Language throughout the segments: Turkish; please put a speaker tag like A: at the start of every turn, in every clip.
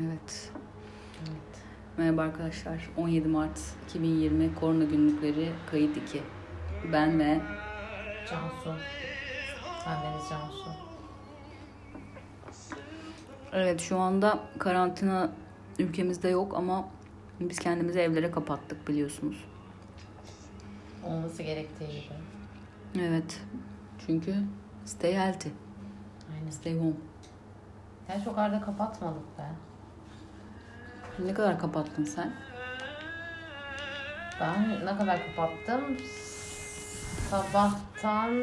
A: Evet. Merhaba arkadaşlar. 17 Mart 2020 Korona Günlükleri kayıt 2. Ben ve
B: Cansu. Anneniz Cansu.
A: evet şu anda karantina ülkemizde yok ama biz kendimizi evlere kapattık biliyorsunuz.
B: Olması gerektiği gibi.
A: Evet. Çünkü stay healthy,
B: Aynısı.
A: stay home.
B: Ya çok arada kapatmadık be.
A: Ne kadar kapattın sen?
B: Ben ne kadar kapattım? Sabahtan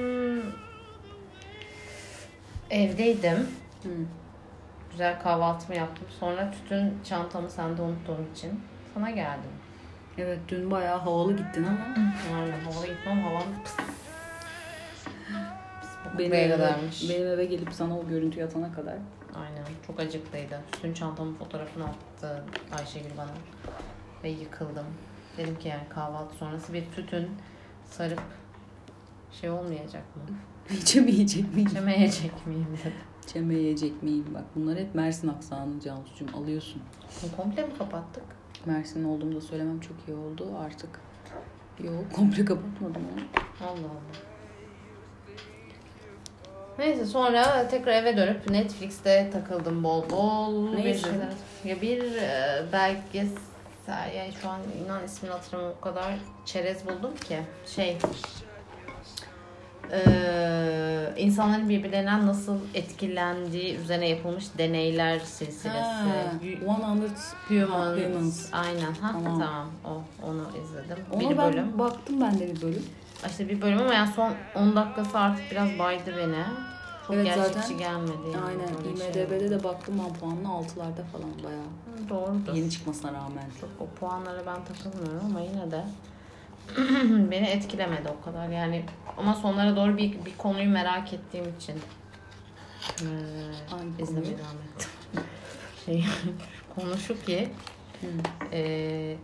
B: evdeydim. Güzel kahvaltımı yaptım. Sonra tütün çantamı sende unuttuğum için sana geldim.
A: Evet dün bayağı havalı gittin ama
B: Aynen havada gitmem havam pıs. Pıs, bu
A: benim
B: buraya
A: eve-
B: kadarmış.
A: benim eve gelip sana o görüntüyü atana kadar
B: Aynen çok acıklıydı. Tütün çantamın fotoğrafını attı Ayşegül bana. Ve yıkıldım. Dedim ki yani kahvaltı sonrası bir tütün sarıp şey olmayacak mı?
A: içemeyecek miyim?
B: İçemeyecek miyim dedim.
A: İçemeyecek miyim? Bak bunlar hep Mersin aksanı Cansu'cum alıyorsun.
B: Bunu komple mi kapattık?
A: Mersin olduğumu da söylemem çok iyi oldu artık. Yok komple kapatmadım onu.
B: Allah Allah. Neyse sonra tekrar eve dönüp Netflix'te takıldım bol bol.
A: Ne
B: bir
A: izledin?
B: şeyler. Ya bir e, belgesel yani şu an inan ismini hatırlamıyorum o kadar çerez buldum ki şey e, insanların birbirlerinden nasıl etkilendiği üzerine yapılmış deneyler silsilesi.
A: Ha, 100
B: Humans.
A: Humans.
B: Aynen. Ha,
A: Tamam.
B: tamam. O, onu izledim.
A: Ona
B: bir
A: ben
B: bölüm.
A: baktım ben de bir bölüm.
B: İşte bir bölüm ama yani son 10 dakikası artık biraz baydı beni. Çok
A: Evet,
B: gerçekçi
A: zaten-
B: gelmedi. Yani
A: Aynen
B: böyle
A: IMDB'de
B: şey.
A: de baktım ben puanını 6'larda falan bayağı.
B: Hı, Doğrudur.
A: Yeni çıkmasına rağmen.
B: Çok o puanlara ben takılmıyorum ama yine de beni etkilemedi o kadar. Yani ama sonlara doğru bir, bir konuyu merak ettiğim için
A: Hangi
B: ee, izlemeye
A: konuyu?
B: devam ettim. şey, konu şu ki
A: Hı.
B: ee,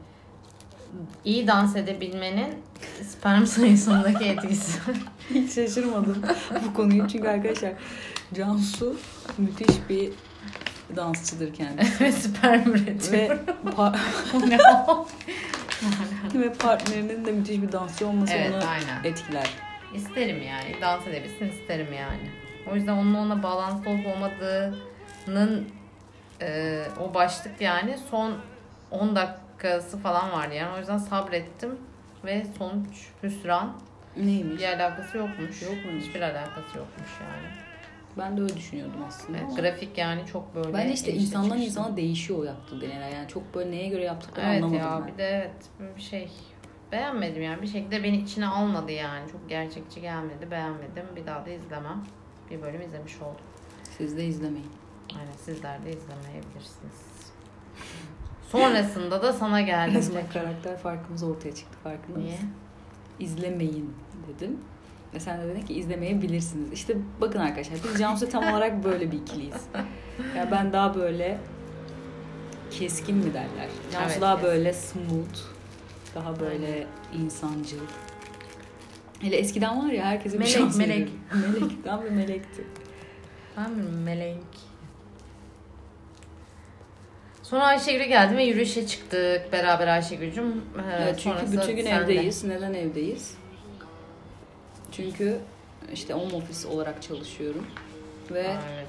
B: iyi dans edebilmenin sperm sayısındaki etkisi.
A: Hiç şaşırmadım bu konuyu çünkü arkadaşlar Cansu müthiş bir dansçıdır kendisi.
B: ve sperm üretiyor.
A: ve, pa-
B: Ne o?
A: ve partnerinin de müthiş bir dansçı olması
B: evet
A: onu
B: aynen.
A: etkiler.
B: İsterim yani. Dans edebilsin isterim yani. O yüzden onun ona bağlantılı olup olmadığının e, o başlık yani son 10 dakikası falan vardı yani. O yüzden sabrettim ve sonuç hüsran.
A: Neymiş?
B: Bir alakası yokmuş.
A: Yok muymuş?
B: Hiçbir alakası yokmuş yani.
A: Ben de öyle düşünüyordum aslında.
B: Evet,
A: ama-
B: grafik yani çok böyle. şey.
A: Bence işte
B: inişli
A: insandan
B: çıkışlı.
A: insana değişiyor o yaptığı deneyler. Yani çok böyle neye göre yaptıklarını
B: Evet
A: anlamadım
B: ya
A: ben.
B: bir de evet bir şey beğenmedim yani bir şekilde beni içine almadı yani çok gerçekçi gelmedi beğenmedim bir daha da izlemem bir bölüm izlemiş oldum
A: Siz de izlemeyin.
B: yani sizler de izlemeyebilirsiniz sonrasında da sana geldim
A: Bizim
B: tekrar.
A: karakter farkımız ortaya çıktı farkında
B: niye
A: mısın? İzlemeyin dedim. Ve sen de dedin ki izlemeyebilirsiniz. İşte bakın arkadaşlar biz Cansu tam olarak böyle bir ikiliyiz. Ya ben daha böyle keskin mi derler? Cansu
B: Evet,
A: daha
B: keskin.
A: böyle smooth. Daha böyle insancıl. Hele eskiden var ya herkese bir
B: Melek,
A: şans
B: melek.
A: veriyordum. Melek. Tam bir melekti.
B: ben bir melek Sonra Ayşegül'e geldim ve yürüyüşe çıktık beraber Ayşegül'cüm. Ee,
A: Evet, çünkü
B: sonrası
A: bütün gün
B: sen de.
A: evdeyiz. Neden evdeyiz? Çünkü işte home office olarak çalışıyorum ve
B: Evet.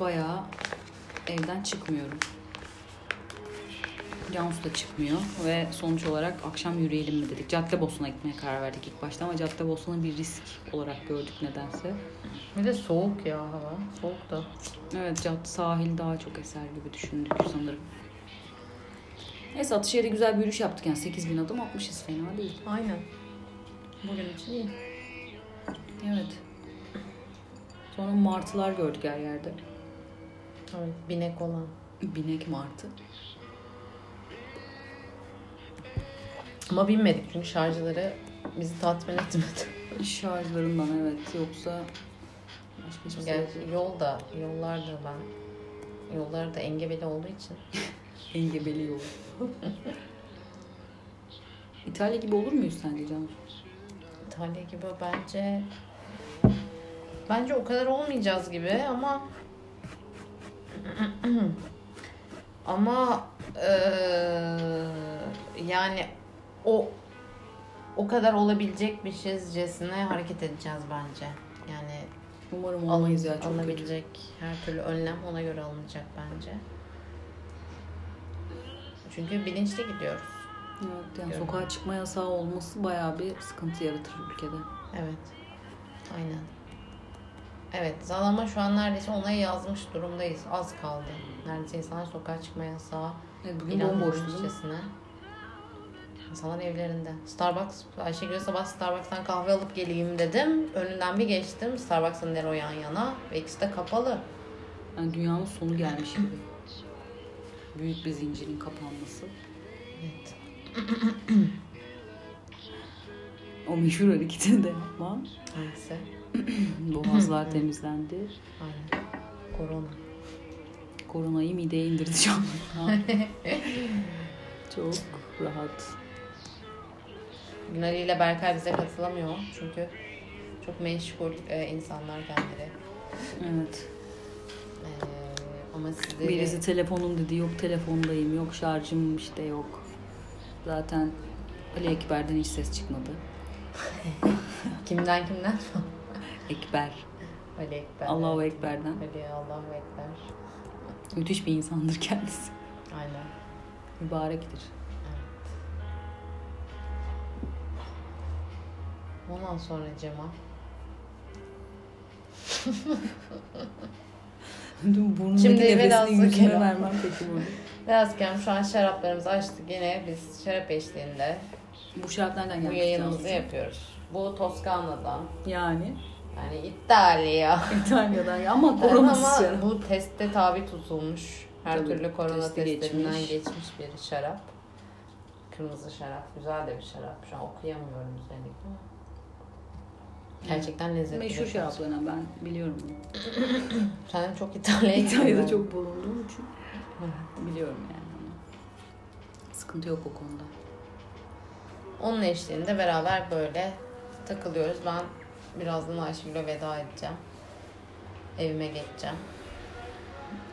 A: bayağı evden çıkmıyorum. Cansu da çıkmıyor ve sonuç olarak akşam yürüyelim mi dedik. Caddebosna gitmeye karar verdik ilk başta ama Caddebosna'nı bir risk olarak gördük nedense.
B: Bir de soğuk ya hava. Soğuk da.
A: Evet cad sahil daha çok eser gibi düşündük sanırım. Neyse Atışehir'de güzel bir yürüyüş yaptık yani 8000 adım atmışız fena değil.
B: Aynen. Bugün için iyi.
A: Evet. Sonra martılar gördük her yerde.
B: Evet, binek olan.
A: Binek martı.
B: Ama binmedik çünkü şarjları bizi tatmin etmedi.
A: Şarjlarından evet yoksa başka hiçbir şey yok.
B: Gerçi yolda, yollarda ben yollar da engebeli olduğu için.
A: Engebeli yol. İtalya gibi olur muyuz sence Cansu?
B: İtalya gibi bence bence o kadar olmayacağız gibi ama Ama eee, yani o o kadar olabilecekmişizcesine hareket edeceğiz bence. Yani
A: Umarım
B: alın-
A: olmayız ya çok kötü.
B: alınabilecek her türlü önlem ona göre alınacak bence. Çünkü bilinçli gidiyoruz.
A: Evet, yani
B: Görmedim.
A: sokağa çıkma yasağı olması bayağı bir sıkıntı yaratır ülkede.
B: Evet. Aynen. Evet. Zalama şu an neredeyse ona yazmış durumdayız. Az kaldı. Neredeyse insanlar sokağa çıkma yasağı.
A: Evet, bugün bomboştu değil mi?
B: İnanmışçasına. İnsanlar evlerinde. Starbucks, Ayşegül sabah Starbucks'tan kahve alıp geleyim dedim. Önünden bir geçtim. Starbucks'ın der o yan yana. Ve ikisi de kapalı.
A: Yani dünyanın sonu gelmiş gibi. Büyük bir zincirin kapanması.
B: Evet.
A: O meşhur hareketini de yapma.
B: Neyse.
A: Boğazlar temizlendi.
B: Aynen. Korona.
A: Koronayı mideye indireceğim. Çok rahat.
B: Bugün Ali ile Berkay bize katılamıyor. Çünkü çok meşgul e, insanlar kendileri.
A: Evet.
B: E, ama sizleri...
A: Birisi telefonum dedi yok telefondayım yok şarjım işte yok. Zaten Ali Ekber'den hiç ses çıkmadı.
B: Kimden kimden?
A: Ekber.
B: Ali Ekber.
A: Allahu Ekber'den.
B: Ali Allahu Ekber.
A: Müthiş bir insandır kendisi.
B: Aynen.
A: Mübarektir.
B: Ondan sonra Cemal.
A: Dün burnundaki
B: Şimdi
A: nefesini
B: velhasıl
A: yüzüme
B: kelam.
A: vermem peki bunu.
B: Beyazkem şu an şaraplarımızı açtık yine biz şarap eşliğinde
A: Bu şarap nereden
B: bu
A: gelmiş?
B: yayınımızı
A: Cansu?
B: yapıyoruz. Bu Toskana'dan
A: Yani
B: yani İtalya.
A: İtalya'dan ya ama koronasız
B: Ama
A: şarap.
B: bu teste tabi tutulmuş. Her
A: Tabii,
B: türlü korona
A: testi
B: testinden
A: geçmiş.
B: geçmiş. bir şarap. Kırmızı şarap. Güzel de bir şarap. Şu an okuyamıyorum özellikle ama. Gerçekten lezzetli. bir
A: Meşhur
B: şarap.
A: şaraplarına ben biliyorum bunu.
B: Sen çok İtalya'ya
A: İtalya'da
B: gidiyorsun.
A: çok bulunduğum için biliyorum yani. onu. Sıkıntı yok o konuda.
B: Onun eşliğinde beraber böyle takılıyoruz. Ben birazdan Ayşegül'e veda edeceğim. Evime geçeceğim.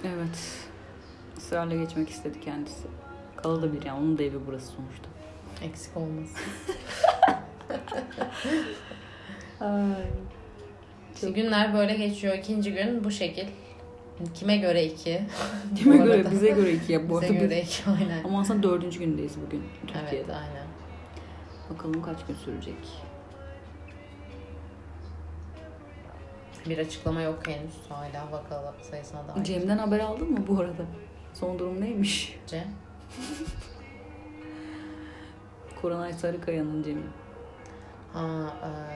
A: Evet. Israrla geçmek istedi kendisi. Kalabilir yani onun da evi burası sonuçta.
B: Eksik olmasın.
A: Ay.
B: İşte günler böyle geçiyor. İkinci gün bu şekil. Kime göre iki?
A: Kime
B: Bu
A: göre?
B: arada.
A: Bize göre iki ya bu
B: Bize
A: arada.
B: göre iki aynen.
A: Ama aslında dördüncü gündeyiz bugün Türkiye'de.
B: Evet aynen.
A: Bakalım kaç gün sürecek.
B: Bir açıklama yok henüz. Hala vaka sayısına dair.
A: Cem'den haber aldın mı bu arada? Son durum neymiş?
B: Cem.
A: Koronay Sarıkaya'nın Cem'i.
B: Ha, eee,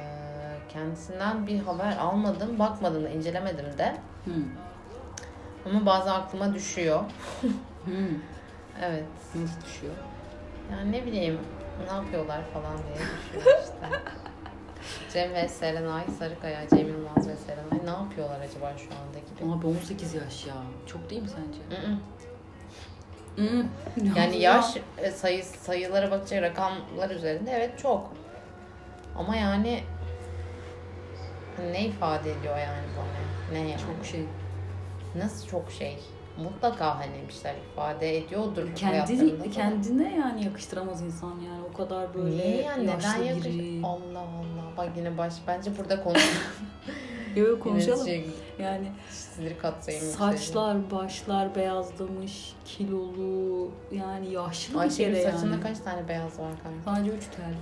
B: kendisinden bir haber almadım. Bakmadım da incelemedim de.
A: Hmm.
B: Ama bazen aklıma düşüyor.
A: Hmm.
B: Evet.
A: Nasıl düşüyor?
B: Yani ne bileyim ne yapıyorlar falan diye düşünüyorum işte. Cem ve Serenay, Sarıkaya, Cem Yılmaz ve Serenay ne yapıyorlar acaba şu anda gibi.
A: Abi 18 yaş ya. Çok değil mi sence?
B: Mm-mm.
A: Hmm.
B: Yani yaş e, sayı, sayılara bakacak rakamlar üzerinde evet çok. Ama yani ne ifade ediyor yani bana? Ne yani?
A: Çok şey.
B: Nasıl çok şey? Mutlaka hani bir şeyler ifade ediyordur. hayatlarında
A: Kendini,
B: da.
A: kendine yani yakıştıramaz insan yani. O kadar böyle
B: Niye yani neden
A: yaşlı
B: yakış?
A: biri.
B: Allah Allah. Bak yine baş. Bence burada konuşalım.
A: Yo, yo, konuşalım.
B: Yönetecek.
A: Yani
B: Sinir katsayım.
A: saçlar, başlar beyazlamış, kilolu yani yaşlı bir
B: Ayşegül
A: kere
B: saçında
A: yani.
B: kaç tane beyaz var kanka?
A: Sadece 3 tel.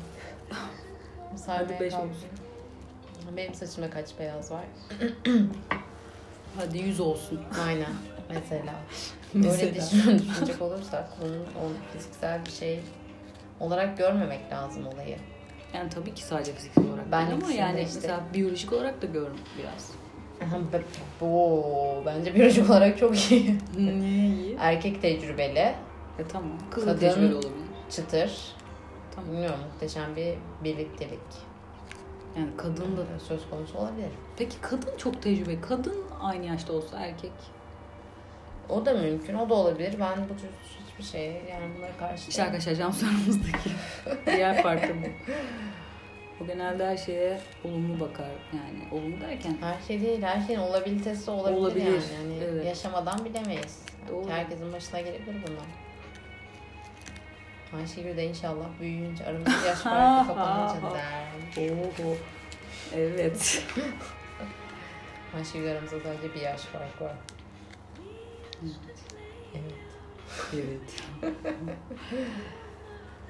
B: Saymaya
A: beş
B: kalk.
A: olsun.
B: Benim saçımda kaç beyaz var?
A: Hadi 100 olsun.
B: Aynen. Mesela.
A: Mesela.
B: Böyle düşün, düşünecek olursak bunun o fiziksel bir şey olarak görmemek lazım olayı.
A: Yani tabii ki sadece fiziksel olarak
B: Ben
A: değil ama
B: ikisini
A: yani
B: de işte-
A: mesela biyolojik olarak da görün biraz.
B: B- Oo, bence biyolojik olarak çok iyi.
A: Niye iyi?
B: Erkek tecrübeli,
A: E tamam. Kız da
B: Kadın-
A: tecrübeli olabilir.
B: çıtır.
A: Tamam.
B: Bilmiyorum muhteşem bir birliktelik
A: Yani kadın da...
B: söz konusu olabilir.
A: Peki kadın çok tecrübeli. Kadın aynı yaşta olsa erkek.
B: O da mümkün, o da olabilir. Ben bu tür hiçbir şey yani bunlara karşı
A: İşte arkadaşlar cam sorumuzdaki diğer farkı bu. O genelde her şeye olumlu bakar. Yani olumlu derken
B: Her şey değil, her şeyin olabilitesi olabilir,
A: Olabilir,
B: yani. yani
A: evet.
B: Yaşamadan bilemeyiz.
A: Doğru.
B: Herkesin başına gelebilir bunlar. Ayşegül de inşallah büyüyünce aramızda yaş farkı kapanınca der.
A: oho evet
B: Ayşegül aramızda sadece bir yaş farkı var. Evet.
A: evet.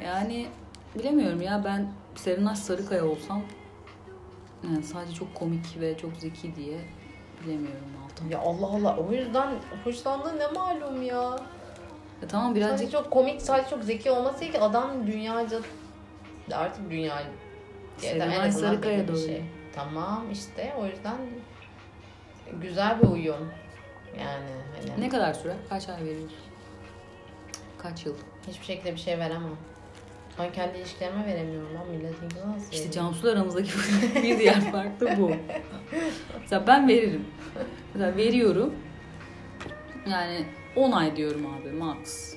A: yani bilemiyorum ya ben Serenay Sarıkaya olsam yani sadece çok komik ve çok zeki diye bilemiyorum Altan.
B: Ya Allah Allah o yüzden hoşlandığı ne malum ya.
A: Ya E tamam birazcık
B: Sadece çok komik, sadece çok zeki olması değil ki adam dünyaca artık dünya ya da en
A: Serenay
B: azından
A: Sarıkaya
B: belli
A: da
B: bir
A: öyle.
B: şey. Tamam işte o yüzden güzel bir uyum. Yani hani
A: Ne kadar süre? Kaç ay veriyoruz? Kaç yıl?
B: hiçbir şekilde bir şey veremem. Ben kendi ilişkilerime veremiyorum lan milletin nasıl
A: İşte
B: vereyim?
A: Cansu'la aramızdaki bir diğer fark da bu. Mesela ben veririm. Mesela veriyorum. Yani 10 ay diyorum abi max.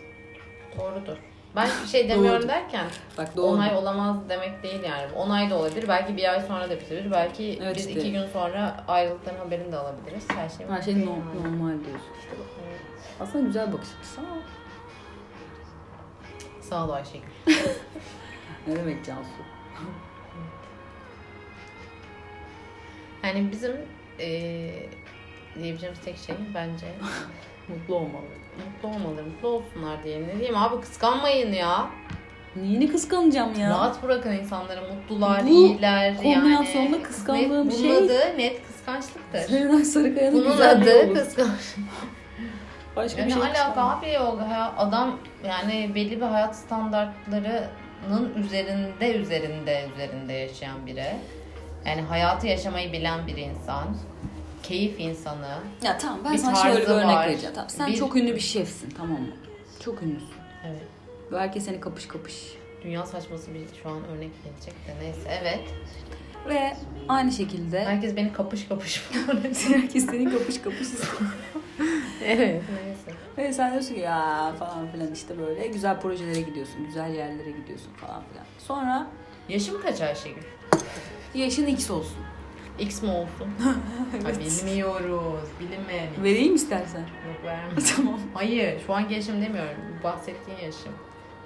B: Doğrudur. Ben hiçbir şey demiyorum
A: Doğrudur.
B: derken
A: Bak doğru.
B: onay olamaz demek değil yani. Onay da olabilir. Belki bir ay sonra da bitirir. Belki
A: Evet
B: biz
A: işte.
B: iki gün sonra ayrılıkların haberini de alabiliriz. Her şey
A: Her şey no- normal diyorsun işte. bak.
B: Evet.
A: Aslında güzel bakış açısı ama
B: Sağ ol Ayşegül.
A: ne demek Cansu?
B: Yani bizim eee diyebileceğimiz tek şey bence
A: Mutlu olmalı.
B: mutlu olmaları, mutlu olsunlar diye. Ne diyeyim abi kıskanmayın ya.
A: Neyini kıskanacağım ya?
B: Rahat bırakın insanları. Mutlular,
A: Bu
B: iyiler yani.
A: kombinasyonda
B: Net-
A: kıskandığım şey-
B: Bunun adı net kıskançlıktır.
A: Serenay Sarıkaya'nın
B: Bunun
A: güzel bir
B: adı
A: yolu.
B: kıskançlık.
A: Başka bir
B: Yani
A: şey
B: alaka
A: kıskanmam.
B: abi yok. Ha, Adam yani belli bir hayat standartlarının üzerinde üzerinde üzerinde yaşayan biri. Yani hayatı yaşamayı bilen bir insan. Keyif insanı.
A: Ya tamam ben
B: Bir
A: sana şöyle bir
B: tarzı
A: örnek
B: var.
A: vereceğim. Tamam, sen
B: Bir-
A: çok ünlü bir şefsin tamam mı? Çok ünlüsün.
B: Evet.
A: Ve herkes seni kapış kapış
B: Dünya saçması bir şu an örnek gelecek de neyse evet.
A: Ve aynı şekilde
B: Herkes beni kapış kapış
A: herkes seni kapış kapış istiyor.
B: Evet. Neyse.
A: Ve sen diyorsun ki ya falan filan işte böyle güzel projelere gidiyorsun, güzel yerlere gidiyorsun falan filan. Sonra
B: Yaşım kaç Ayşegül?
A: yaşın X olsun.
B: X mi olsun? Ay, bilmiyoruz. Bilinmeyen. X.
A: Vereyim istersen.
B: Yok vermem.
A: tamam.
B: Hayır şu anki yaşım demiyorum. Bahsettiğin yaşım.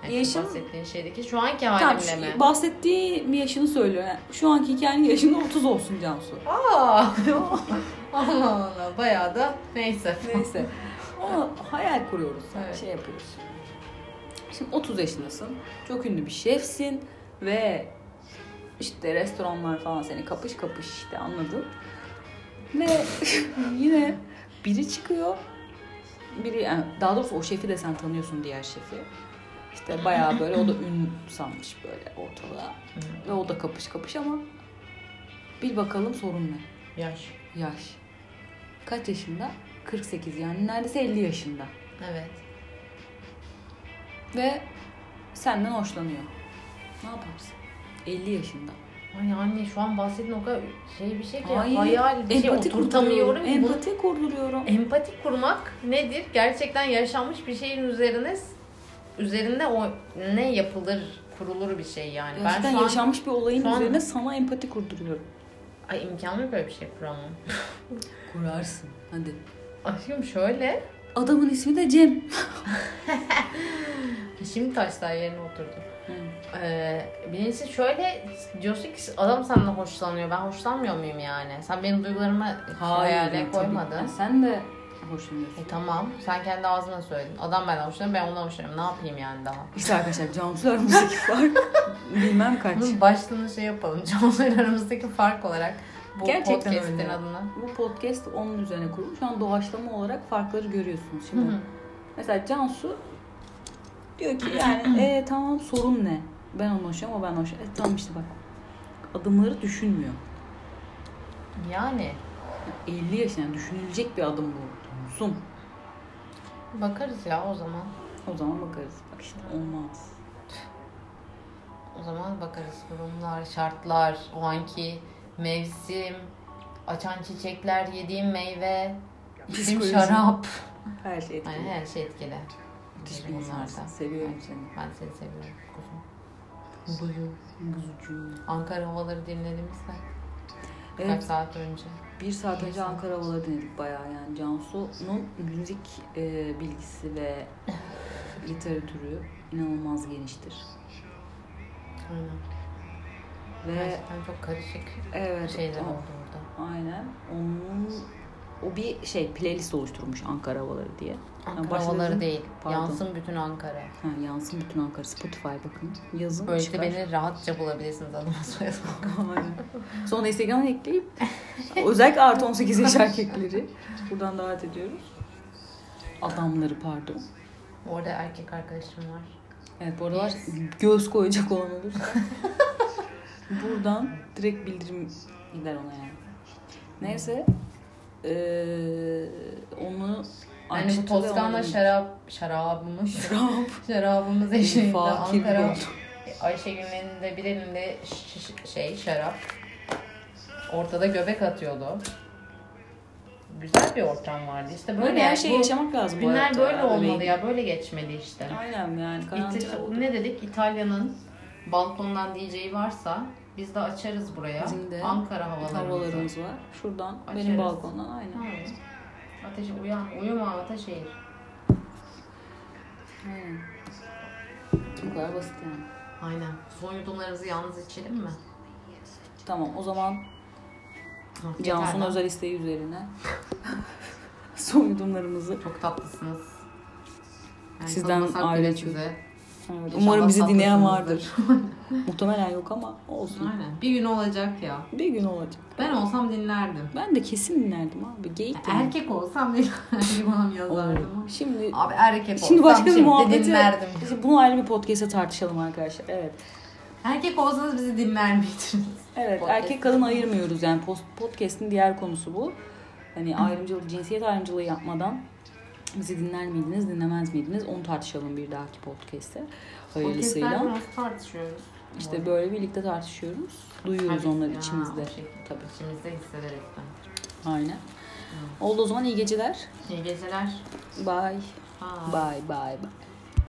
B: Yani şu
A: Yaşım-
B: Bahsettiğin şeydeki şu anki
A: Tamam,
B: halimle mi?
A: şu, bahsettiğim yaşını söylüyor. Yani şu anki hikayenin yaşını 30 olsun Cansu.
B: Aa! Allah Allah bayağı da neyse.
A: Neyse. Onu hayal kuruyoruz. yani
B: Evet.
A: Şey yapıyoruz. Şimdi 30 yaşındasın. Çok ünlü bir şefsin ve işte restoranlar falan seni kapış kapış işte anladın. Ve yine biri çıkıyor. Biri yani daha doğrusu o şefi de sen tanıyorsun diğer şefi. İşte bayağı böyle o da ün sanmış böyle ortalığa.
B: Hı.
A: Ve o da kapış kapış ama bir bakalım sorun ne?
B: Yaş.
A: Yaş. Kaç yaşında? 48 yani neredeyse 50 yaşında.
B: Evet.
A: Ve senden hoşlanıyor. Ne yaparsın? 50 yaşında.
B: Ay anne şu an bahsettiğin o kadar şey bir şey ki
A: Hayır,
B: hayal bir şey oturtamıyorum. ki. Bunu-
A: Empati kurduruyorum.
B: Empati kurmak nedir? Gerçekten yaşanmış bir şeyin üzerine üzerinde o ne yapılır, kurulur bir şey yani.
A: Gerçekten
B: ben şu an
A: yaşanmış bir olayın
B: şu an-
A: üzerine sana empati kurduruyorum.
B: ay imkanı yok böyle bir şey kuramam.
A: Kurarsın. Hadi.
B: Aşkım şöyle.
A: Adamın ismi de Cem.
B: Şimdi taşlar yerine oturdu. Ee, birincisi şöyle diyorsun ki adam senden hoşlanıyor. Ben hoşlanmıyor muyum yani? Sen benim duygularımı hayale
A: tabii.
B: koymadın.
A: Yani sen de hoşlanıyorsun.
B: E tamam. Sen kendi ağzına söyledin. Adam benden hoşlanıyor, ben ondan hoşlanıyorum. Ne yapayım yani daha?
A: İşte arkadaşlar Cansu aramızdaki fark bilmem kaç.
B: Bunun başlığını şey yapalım. Canlılar aramızdaki fark olarak bu
A: Gerçekten
B: podcast'in
A: öyle.
B: adını.
A: Bu podcast onun üzerine kurulmuş. Şu an doğaçlama olarak farkları görüyorsunuz.
B: Hı
A: Şimdi
B: hı.
A: Mesela Cansu diyor ki yani e, tamam sorun ne? Ben onu hoşlanıyorum o ben hoş. E, tamam işte bak. Adımları düşünmüyor.
B: Yani
A: 50 yaşında düşünülecek bir adım bu. Sun.
B: bakarız ya o zaman.
A: O zaman bakarız. Bak işte olmaz.
B: O zaman bakarız durumlar, şartlar, o anki mevsim, açan çiçekler, yediğim meyve, içtiğim
A: Psikolojim.
B: şarap.
A: Her şey etkili.
B: Yani her şey etkili.
A: Müthiş bir
B: Bunlar da.
A: insansın. Seviyorum seni.
B: Ben seni seviyorum kuzum. Buzu.
A: Buzucu.
B: Ankara havaları dinledimizde. Kaç
A: Evet,
B: saat önce.
A: bir saat önce Ankara Havaları dinledik bayağı yani. Cansu'nun müzik e, bilgisi ve literatürü inanılmaz geniştir.
B: Aynen.
A: Ve
B: Gerçekten çok karışık
A: evet,
B: şeyler
A: o-
B: oldu orada.
A: Aynen. Onun o bir şey playlist oluşturmuş Ankara Havaları diye.
B: Ankara
A: başta
B: havaları
A: dedim,
B: değil.
A: pardon.
B: Yansın bütün Ankara.
A: Ha, yansın bütün Ankara Spotify bakın. Yazın
B: Böylelikle
A: çıkar.
B: beni rahatça bulabilirsiniz adıma soyadıma.
A: Aynen. Sonra Instagram'a ekleyip özellikle artı 18 yaş erkekleri buradan davet ediyoruz. Adamları pardon.
B: Orada erkek arkadaşım var.
A: Evet bu aralar göz koyacak olan olursa buradan direkt bildirim gider ona yani. Neyse eee, onu
B: Yani bu
A: açtı ve
B: Toskana
A: ona-
B: şarap, şarabımız,
A: Şarap.
B: şarabımız eşliğinde
A: Fakir
B: Ankara.
A: oldu.
B: Ayşegül'ün de bir elinde ş- ş- şey şarap. Ortada göbek atıyordu. Güzel bir ortam vardı. İşte böyle,
A: Böyle
B: yani
A: her şeyi
B: bu
A: yaşamak lazım. bu
B: Günler
A: hayatta
B: böyle
A: ya,
B: olmalı
A: bebeğim.
B: ya. Böyle geçmeli işte.
A: Aynen yani
B: İşte
A: karantina oldu.
B: ne dedik? İtalya'nın balkondan diyeceği varsa biz de açarız buraya.
A: Bizim de
B: Ankara havalarımızı.
A: Havalarımız var. Şuradan
B: Açarız.
A: benim balkondan aynen.
B: Hayır. Ateşe uyan, uyuma Ateşehir.
A: aynen. Bu kadar basit yani.
B: Aynen. Son yudumlarımızı yalnız içelim mi?
A: Tamam o zaman
B: Ha, yeter
A: Cansu'nun
B: lan.
A: özel isteği üzerine son yudumlarımızı.
B: Çok tatlısınız.
A: Sizden
B: tanımasak bile
A: ayrı
B: size.
A: Evet,
B: İnşallah
A: umarım bizi dinleyen vardır.
B: tatlısınızdır.
A: Muhtemelen yok ama olsun.
B: Aynen. Bir gün olacak ya.
A: Bir gün olacak.
B: Ben olsam dinlerdim.
A: Ben de kesin dinlerdim abi. Geyik de.
B: Erkek olsam dinlerdim. Bana yazardım.
A: Şimdi
B: Abi erkek
A: Şimdi
B: olsam
A: başka
B: şimdi
A: bir muhabbeti.
B: dinlerdim.
A: Şimdi Bunu ayrı bir podcast'e tartışalım arkadaşlar. Evet.
B: Erkek olsanız bizi dinler miydiniz?
A: Evet,
B: Podcast.
A: erkek kadın ayırmıyoruz yani post, podcast'in diğer konusu bu. Hani ayrımcılık, cinsiyet ayrımcılığı yapmadan bizi dinler miydiniz, dinlemez miydiniz? Onu tartışalım bir dahaki podcast'te.
B: Podcast'ler
A: Hayırlısıyla.
B: nasıl tartışıyoruz?
A: İşte böyle birlikte tartışıyoruz. Duyuyoruz
B: Tabii.
A: onları
B: Ya,
A: içimizde.
B: o şekilde.
A: Tabii.
B: İçimizde hissederekten.
A: Aynen. Oldu o zaman iyi geceler.
B: İyi geceler.
A: Bye.
B: Bye.
A: Bye bye bye.